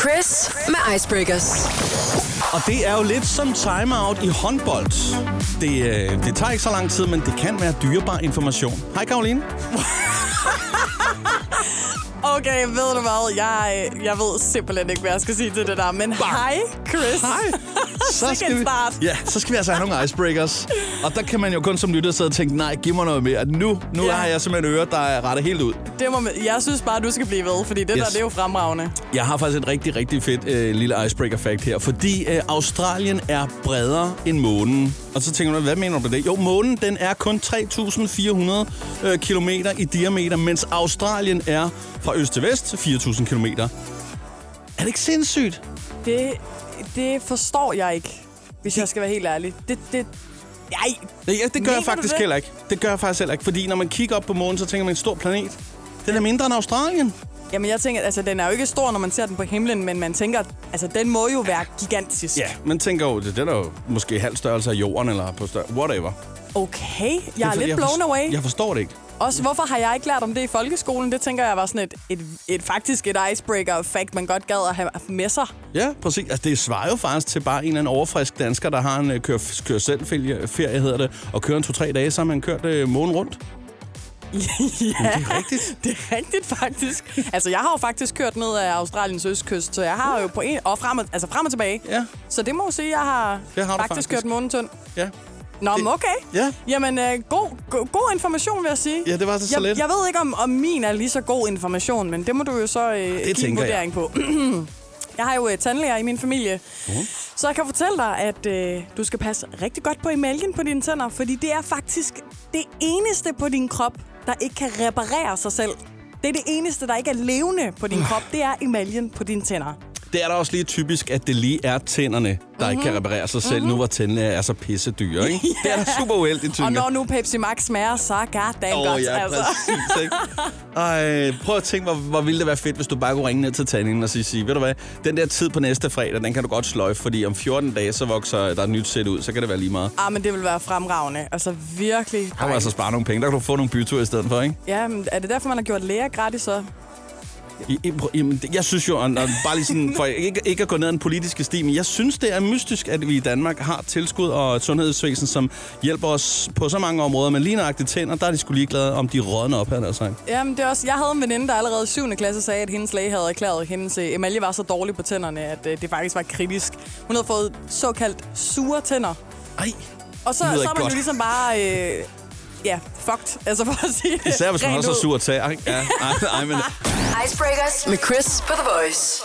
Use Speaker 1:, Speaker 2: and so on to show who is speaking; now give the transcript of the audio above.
Speaker 1: Chris med Icebreakers.
Speaker 2: Og det er jo lidt som timeout i håndbold. Det, øh, det tager ikke så lang tid, men det kan være dyrebar information. Hej Karoline.
Speaker 3: Okay, ved du hvad? Jeg, jeg ved simpelthen ikke, hvad jeg skal sige til det der. Men hej, Chris.
Speaker 2: Hej.
Speaker 3: Sikke en
Speaker 2: vi,
Speaker 3: start.
Speaker 2: ja, så skal vi altså have nogle icebreakers. Og der kan man jo kun som lytter sidde og tænke, nej, giv mig noget mere. Nu, nu
Speaker 3: Ja.
Speaker 2: har jeg simpelthen ører, der er rettet helt ud.
Speaker 3: Det må, man- jeg synes bare, du skal blive ved, fordi det
Speaker 2: Yes.
Speaker 3: yes. der det er jo fremragende.
Speaker 2: Jeg har faktisk et rigtig, rigtig fedt øh, lille icebreaker-fact her, fordi øh, Australien er bredere end månen. Og så tænker du, hvad mener du med det? Jo, månen den er kun 3.400 øh, kilometer i diameter, mens Australien er fra øst til vest 4.000 kilometer. Er det ikke sindssygt?
Speaker 3: Det, det forstår jeg ikke, hvis jeg skal være helt ærlig. Det, det, ej,
Speaker 2: Ja, det gør
Speaker 3: Mener
Speaker 2: jeg
Speaker 3: du
Speaker 2: faktisk
Speaker 3: det?
Speaker 2: heller ikke. Det gør jeg faktisk heller ikke, fordi når man kigger op på månen, så tænker man en stor planet. Den er mindre end Australien.
Speaker 3: jamen jeg tænker, altså den er jo ikke stor, når man ser den på himlen, men man tænker, altså den må jo være gigantisk.
Speaker 2: Ja, man tænker jo, det den er jo måske halv størrelse af jorden, eller på større, whatever.
Speaker 3: Okay, jeg er
Speaker 2: Det for-
Speaker 3: lidt blown
Speaker 2: forst-
Speaker 3: away.
Speaker 2: Jeg forstår det ikke.
Speaker 3: Også hvorfor har jeg ikke lært om det i folkeskolen? Det tænker jeg var sådan et, et, et faktisk et icebreaker-fact, man godt gad at have med sig.
Speaker 2: Ja, præcis. Altså, det svarer jo faktisk til bare en eller anden overfrisk dansker, der har en øh, kør, kør selv ferie, hedder det, og kører en to-tre dage, så har man kørt øh, månen rundt.
Speaker 3: ja,
Speaker 2: det er rigtigt.
Speaker 3: Det er rigtigt, faktisk. Altså, jeg har jo faktisk kørt ned af Australiens østkyst, så jeg har jo på en... Og frem og, altså frem og tilbage.
Speaker 2: Ja.
Speaker 3: Så det må jo sige, at jeg har,
Speaker 2: Det har du
Speaker 3: faktisk,
Speaker 2: faktisk.
Speaker 3: kørt månetønd.
Speaker 2: Ja.
Speaker 3: Nå, men
Speaker 2: Det-
Speaker 3: okay.
Speaker 2: Ja.
Speaker 3: Jamen, øh, god, god, god information, vil jeg sige.
Speaker 2: Ja, det var så- så
Speaker 3: jeg,
Speaker 2: lidt.
Speaker 3: Jeg ved ikke, om, om min er lige så god information, men det må du jo så øh, give en
Speaker 2: Ah, tænker jeg.
Speaker 3: vurdering på. jeg har jo øh, tandlæger i min familie,
Speaker 2: Mhm.
Speaker 3: så jeg kan fortælle dig, at øh, du skal passe rigtig godt på emaljen på dine tænder, fordi det er faktisk det eneste på din krop, der ikke kan reparere sig selv. Det er det eneste, der ikke er levende på
Speaker 2: Ah.
Speaker 3: din krop, det er emaljen på dine tænder.
Speaker 2: Det er da også lige typisk, at det lige er tænderne, der mm-hmm.
Speaker 3: Mhm.
Speaker 2: ikke kan reparere sig selv, mm-hmm. nu hvor tænderne er så pisse dyre, ikke? Det er da super uheldigt,
Speaker 3: Og
Speaker 2: typisk.
Speaker 3: når nu Pepsi Max smager så goddamn
Speaker 2: Åh,
Speaker 3: godt,
Speaker 2: ja,
Speaker 3: altså.
Speaker 2: præcis, ikke? Ej, prøv at tænke, hvor, hvor ville det være fedt, hvis du bare kunne ringe ned til tandlægen og sige, sige, ved du hvad, den der tid på næste fredag, den kan du godt sløjfe, fordi om 14 dage, så vokser der et nyt sæt ud, så kan det være lige meget.
Speaker 3: Ah, men det vil være fremragende. Altså virkelig.
Speaker 2: Der kan du altså spare nogle penge. Der kan du få nogle byture i stedet for, ikke?
Speaker 3: Ja, men er det derfor, man har gjort læger gratis så?
Speaker 2: I, I, prøv- jamen, det- jeg synes jo, og, og bare lige sådan, for ikke, ikke at gå ned ad den politiske sti, men jeg synes, det er mystisk, at vi i Danmark har tilskud og et sundhedsvæsen, som hjælper os på så mange områder, men lige nøjagtigt tænder, der er de skulle ligeglade, om de rådner op her, der sagt.
Speaker 3: Jamen, det er også, jeg havde en veninde, der allerede i 7. klasse sagde, at hendes læge havde erklæret, at hendes øh, emalje var så dårlig på tænderne, at øh, det faktisk var kritisk. Hun havde fået såkaldt sure tænder.
Speaker 2: Ej,
Speaker 3: Og så, så
Speaker 2: Det lyder ikke
Speaker 3: er man jo
Speaker 2: godt.
Speaker 3: ligesom bare... Øh, ja, fucked. Altså for at sige det
Speaker 2: især hvis man
Speaker 3: rent
Speaker 2: har så
Speaker 3: ud.
Speaker 2: sur tag. ikke? Ja, ej, ej, men
Speaker 1: Icebreakers med Chris på The Voice.